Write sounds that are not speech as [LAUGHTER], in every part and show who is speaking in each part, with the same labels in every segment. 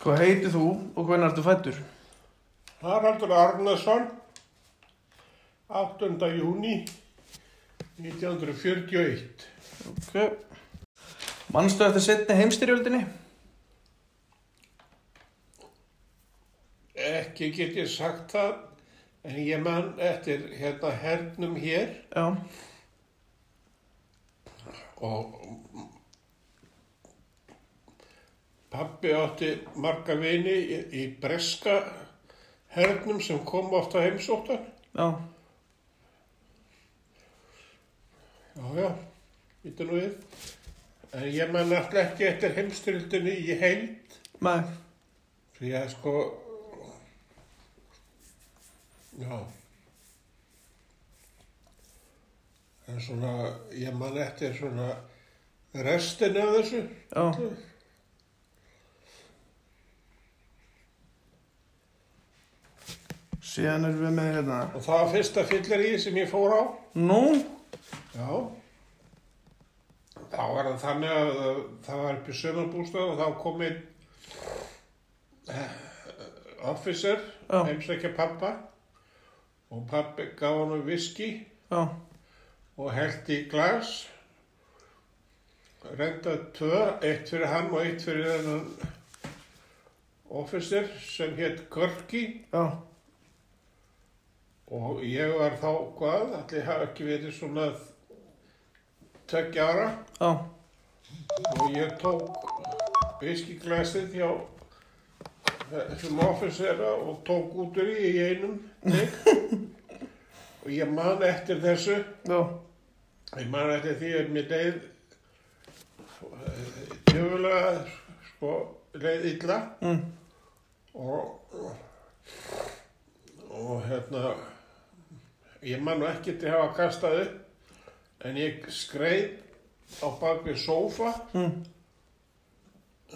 Speaker 1: Hvað heitir þú og hvernig ertu fættur?
Speaker 2: Haraldur Arnason, 8. júni 1941.
Speaker 1: Ok. Manstu eftir setni heimstyrjöldinni?
Speaker 2: Ekki get ég sagt það, en ég man eftir hérna hernum hér
Speaker 1: Já.
Speaker 2: og pappi átti marga vini í, í breska hernum sem kom oft að heimsóttan.
Speaker 1: Já.
Speaker 2: Já, já, býttu nú við. En ég man alltaf ekki eftir heimstyrildinni í heild.
Speaker 1: Nei.
Speaker 2: Því að sko, já, en svona, ég man eftir svona restin af þessu.
Speaker 1: Já. Síðan erum við með hérna.
Speaker 2: Og það var fyrsta fyllir í sem ég fór á.
Speaker 1: Nú?
Speaker 2: Já. Þá var það þannig að það- það var upp í sömarbústað og þá kom einn eh, officer,
Speaker 1: Já.
Speaker 2: heimsækja pappa og pappi gaf hann viski
Speaker 1: Já.
Speaker 2: og held í glas renda tvö, eitt fyrir hann og eitt fyrir þennan officer sem hétt Görki
Speaker 1: Já.
Speaker 2: og ég var þá hvað, allir hafa ekki verið svona tveggja ára
Speaker 1: Já.
Speaker 2: og ég tók viskiglasið hjá þessum officera og tók út úr í í einum tek. og ég man eftir þessu
Speaker 1: Já.
Speaker 2: Ég man eftir því að mér leið eh, tjöfulega, sko, leið illa
Speaker 1: Mm.
Speaker 2: og, og hérna, ég man nú ekki til að hafa kastað upp, en ég skreið á bakvið sófa
Speaker 1: Mm.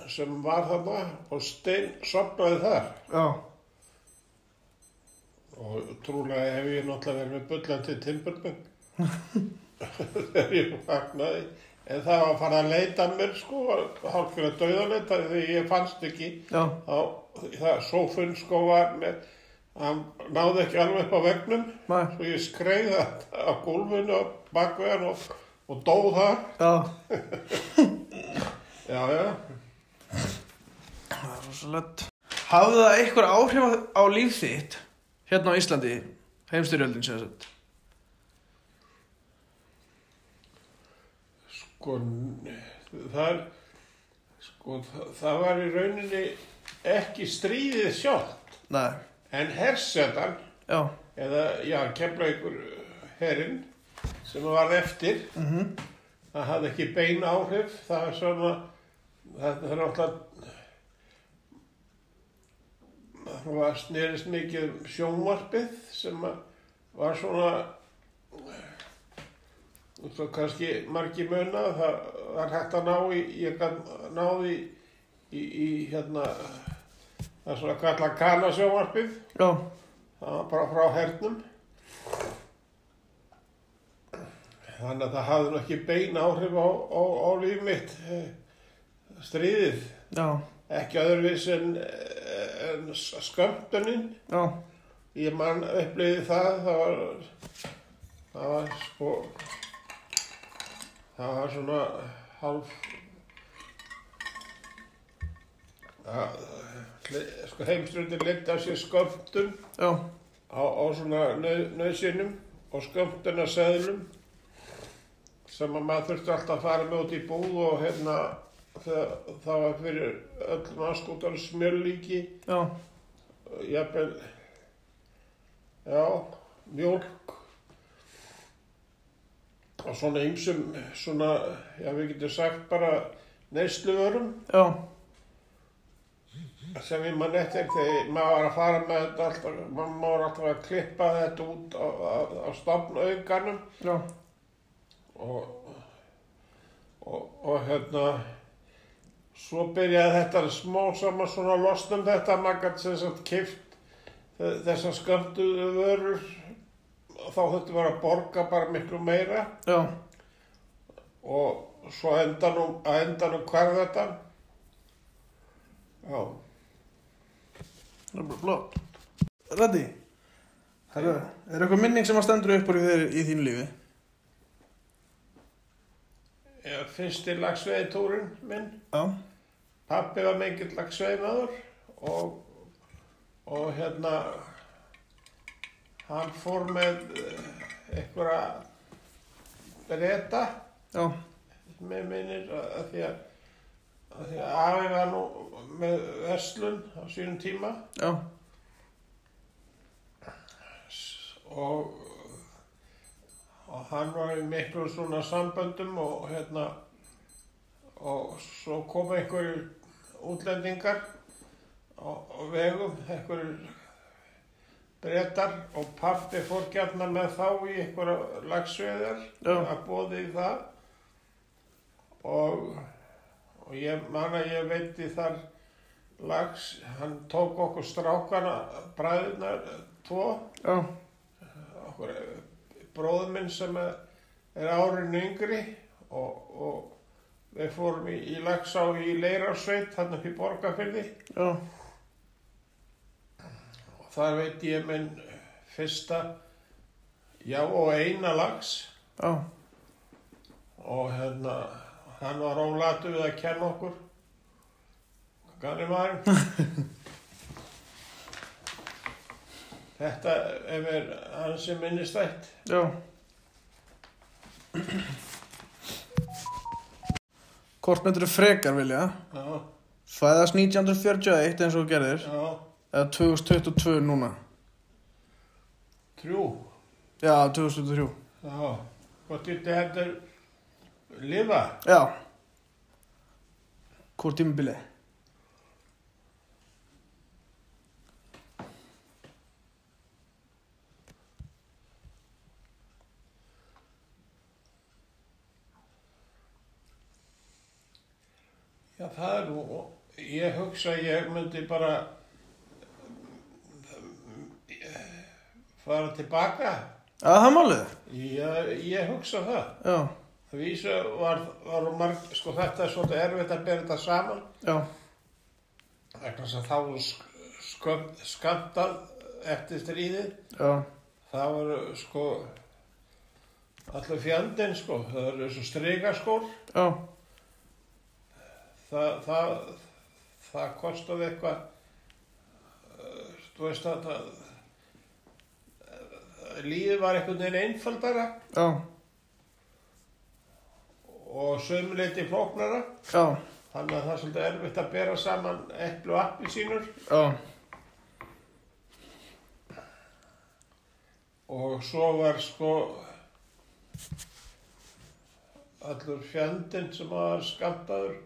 Speaker 2: sem var þarna og stein sopnaði þar
Speaker 1: Já.
Speaker 2: og trúlega hef ég náttúrulega verið með bullandi timburböng þegar ég vaknaði en það var að fara að leita að mér sko hálfur að dauðanleita þegar ég fannst ekki
Speaker 1: Já.
Speaker 2: þá það sófun sko var með hann náði ekki alveg upp á vegnum
Speaker 1: Nei.
Speaker 2: svo ég skreið á gólfinu og bakvegan og, og dóð þar
Speaker 1: Já.
Speaker 2: já já
Speaker 1: Það er rosalegt. Hafði það einhver áhrif á líf þitt hérna á Íslandi, heimstyrjöldin sem sagt?
Speaker 2: Sko, það, sko, það, það var í rauninni ekki stríðið sjálft,
Speaker 1: Nei.
Speaker 2: en hersetan,
Speaker 1: Já.
Speaker 2: eða, já, kemla ykkur herrin sem var eftir,
Speaker 1: Mm
Speaker 2: það hafði ekki bein áhrif, það er svona, það, það er alltaf, það var snerist mikið um sjónvarpið sem að var svona, svo kannski margi muna, það var hægt að ná í, ég gat náði í, í hérna, það er svona kalla kana sjónvarpið,
Speaker 1: Já.
Speaker 2: það var bara frá hernum. Þannig að það hafði nú ekki bein áhrif á, á, á líf mitt, eh, stríðið,
Speaker 1: Já.
Speaker 2: ekki öðruvis en, eh, en skömmtuninn.
Speaker 1: Já.
Speaker 2: Ég mann upplýði það, það var, það var sko, það var svona hálf, það, hle- sko heimströndin leitt af sér skömmtun
Speaker 1: Já.
Speaker 2: á, á svona nöðsynum og skömmtunarseðlum sem að maður þurfti alltaf að fara með út í búð og hérna það, það var fyrir öllum aðskótar smjörlíki
Speaker 1: Já.
Speaker 2: jafnvel, já, mjólk og svona ymsum, svona, já, við getum sagt bara neysluvörum
Speaker 1: Já.
Speaker 2: sem ég mann eftir þegar maður var að fara með þetta alltaf, mamma var alltaf að klippa þetta út á, á, á stofnauganum
Speaker 1: Já.
Speaker 2: og, og, og hérna, svo byrjaði þetta smá saman svona að losna um þetta, maður gæti sem sagt kift þessar skamtuðu vörur, þá þetta var að borga bara miklu meira
Speaker 1: Já.
Speaker 2: og svo endanum, að endanum hvar þetta. Já,
Speaker 1: Það er bara blótt. Rætti, er eitthvað minning sem að stendur upp úr í, þeir, í þínu lífi?
Speaker 2: Ég- Fyrsti lagsveiði túrin minn.
Speaker 1: Já.
Speaker 2: Pappi var mikill lagsveimaður og, og hérna hann fór með eh, einhverja breyta
Speaker 1: Já.
Speaker 2: með minnir að að því að, að því að afi var nú með verslun á sínum tíma
Speaker 1: Já.
Speaker 2: og, og hann var í miklu svona samböndum og hérna og svo kom einhverjir útlendingar og, og vegum einhverjir brettar og pappi fór gjarna með þá í einhverja lagsveðar
Speaker 1: Já.
Speaker 2: að bóði í það og, og ég man að ég veitti þar lags, hann tók okkur strákana, bræðunar tvo
Speaker 1: Já.
Speaker 2: okkur eh, bróður minn sem er er árinu yngri og, og við fórum í, í Laxá í Leirársveit hann upp í Borgarfyrði
Speaker 1: Já.
Speaker 2: og þar veit ég minn fyrsta já og eina lags
Speaker 1: Já.
Speaker 2: og hérna hann var ólatu við að kenna okkur ganni maður þetta er mér hans sem minnistætt
Speaker 1: Já. Hvort myndur frekar vilja?
Speaker 2: já,
Speaker 1: Fæðast 1941 eins og þú gerðir
Speaker 2: já,
Speaker 1: eða 2022 núna?
Speaker 2: trjú
Speaker 1: Já, 2023.
Speaker 2: Já, hvort þetta heldur lifa?
Speaker 1: Já. Hvort tímabilið?
Speaker 2: Já, það er nú, ég hugsa að ég myndi bara fara tilbaka.
Speaker 1: Já, það er málið.
Speaker 2: Ég, ég hugsa það.
Speaker 1: Já.
Speaker 2: Það vísu var, var marg, sko þetta er svolítið erfitt að bera þetta saman.
Speaker 1: Já.
Speaker 2: Vegna þess að þá var sk- skömm- skamtað eftir stríðið.
Speaker 1: Já.
Speaker 2: Það var sko allir fjandinn sko, það eru svo strygaskór.
Speaker 1: Já.
Speaker 2: það, það, það kostaði eitthvað eh, þú veist að það, eh, lífið var einhvern veginn einfaldara
Speaker 1: Já.
Speaker 2: og sömuleyti flóknara
Speaker 1: Já.
Speaker 2: þannig að það er svolítið erfitt að bera saman eplu og appelsínur
Speaker 1: Já.
Speaker 2: og svo var sko allur fjandinn sem var skamtaður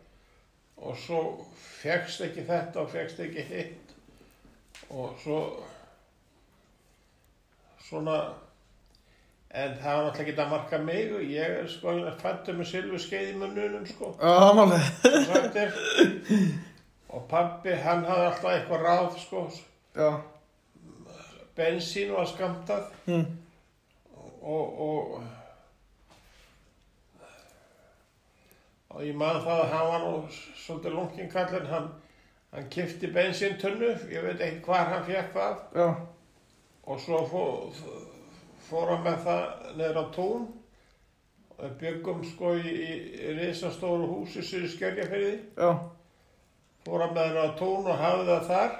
Speaker 2: og svo fegst ekki þetta og fegst ekki hitt og svo svona en það var náttúrulega ekki að marka mig og ég er sko að fættu með silfu skeið í mununum sko
Speaker 1: Já, það er málið.
Speaker 2: sem sagt er. og pabbi hann hafði alltaf eitthvað ráð sko
Speaker 1: Já.
Speaker 2: bensín var skamtað
Speaker 1: Mm.
Speaker 2: og, og og ég man það að hann var nú svolítið lungin kallinn hann, hann kifti bensíntunnu ég veit ekki hvar hann fekk það
Speaker 1: Já.
Speaker 2: og svo fór, fór hann með það neður á tún og við byggum sko í, í, í risastóru húsi sér í skjörjafyrði
Speaker 1: Já.
Speaker 2: fór hann með hann á tún og hafði það þar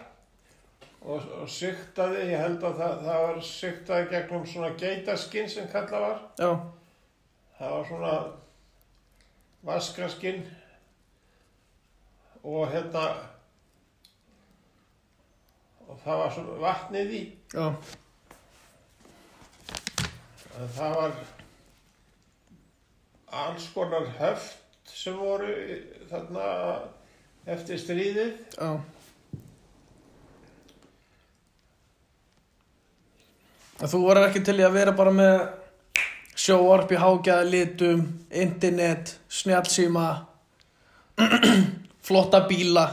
Speaker 2: og, og syktaði, ég held að það, það var syktaði gegnum svona geitaskinn sem kallað var
Speaker 1: Já.
Speaker 2: Það var svona vaskaskinn og hérna og það var svona vatnið í
Speaker 1: Já.
Speaker 2: en það var alls konar höft sem voru í- þarna eftir stríðið
Speaker 1: Já. En þú var ekki til í að vera bara með sjóarp í hágæða litum, internet, snjálsíma, [CLEARS THROAT] flotta bíla.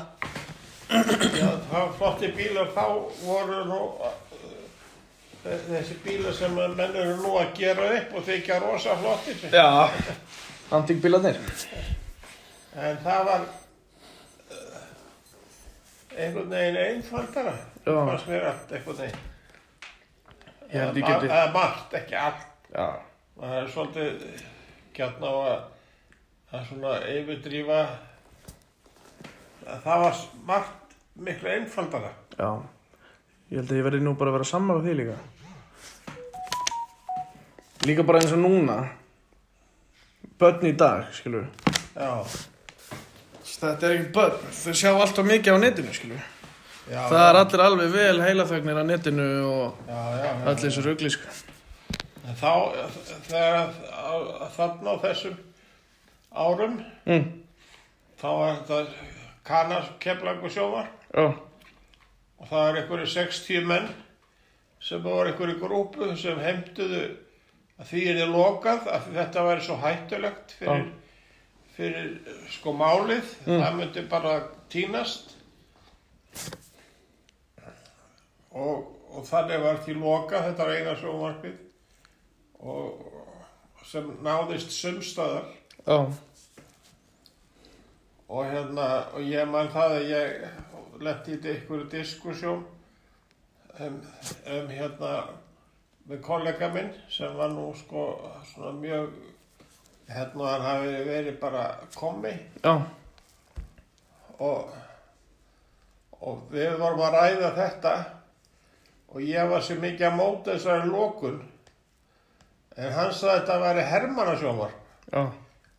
Speaker 2: Já, það var flotti bílar þá voru nú eh, þessi bílar sem að menn eru nú að gera upp og þykja rosa flottir
Speaker 1: Já. Antíkbílarnir.
Speaker 2: En það var eh, einhvern veginn einfaldara
Speaker 1: Já.
Speaker 2: fannst mér allt einhvern veginn
Speaker 1: Ég held ég
Speaker 2: Eða ma-
Speaker 1: geti-
Speaker 2: eða margt, ekki allt
Speaker 1: Já.
Speaker 2: maður er svolítið gjarn á að að svona yfirdrýfa það var s- margt miklu einfaldara
Speaker 1: Já. Ég held að ég verði nú bara að vera sammála því líka. Líka bara eins og núna. Börn í dag, skilur.
Speaker 2: já,
Speaker 1: Þetta er ekki börn. Þau sjá allt og mikið á netinu, skilur.
Speaker 2: já,
Speaker 1: Það er allir alveg vel heilaþögnir á netinu og
Speaker 2: já, já, já.
Speaker 1: allir eins og ruggli, sko.
Speaker 2: En þá þegar á- þarna á þessum árum
Speaker 1: Mm.
Speaker 2: þá var þetta kanas keflagur sjóvar
Speaker 1: Já.
Speaker 2: og það er einhverju 60 menn sem voru einhverju grúpu sem heimtuðu að því er þið lokað að þetta væri svo hættulegt fyrir, fyrir eh, sko málið það myndi bara týnast og, og þannig var því lokað þetta var eina sjómarkið og sem náðist sumstaðar
Speaker 1: Já.
Speaker 2: og hérna, og ég man það að ég letti í einhverju diskusjón um, um hérna með kollega minn sem var nú sko svona mjög hérna hann hafi verið bara komi
Speaker 1: Já.
Speaker 2: og, og við vorum að ræða þetta og ég var sér mikið að móta þessari lókun en hann sagði að þetta væri hermannasjónvarp
Speaker 1: Já.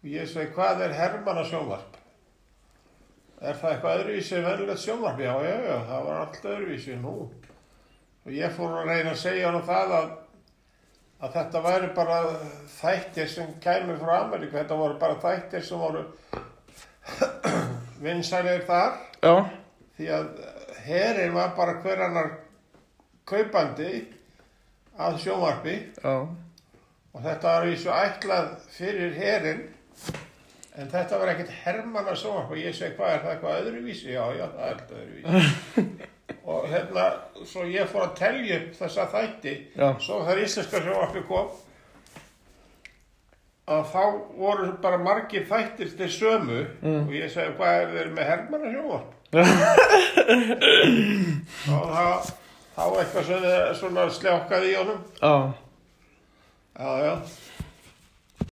Speaker 2: Ég segi, hvað er hermanna sjónvarp? Er það eitthvað öðruvísi en venjulegt sjónvarp? Já, já, já, það var allt öðruvísi nú. Og ég fór að reyna að segja hann það að, að þetta væri bara þættir sem kæmi frá Ameríku. Þetta voru bara þættir sem voru [CLEARS THROAT] vinsælir þar
Speaker 1: Já.
Speaker 2: því að herin var bara hver annar kaupandi að sjónvarpi
Speaker 1: Já.
Speaker 2: og þetta var vísu ætlað fyrir herin en þetta var ekkert hermanna sjónvarp og ég segi hvað er það eitthvað öðruvísi já já það er alltaf öðruvísi og hérna svo ég fór að telja upp þessa þætti
Speaker 1: Já.
Speaker 2: svo þegar íslenska sjónvarpi kom að þá voru bara margir þættir til sömu og ég segi hvað er þeir með hermanna sjónvarp og það þá eitthvað svona, svona sljákaði í honum
Speaker 1: Já.
Speaker 2: já já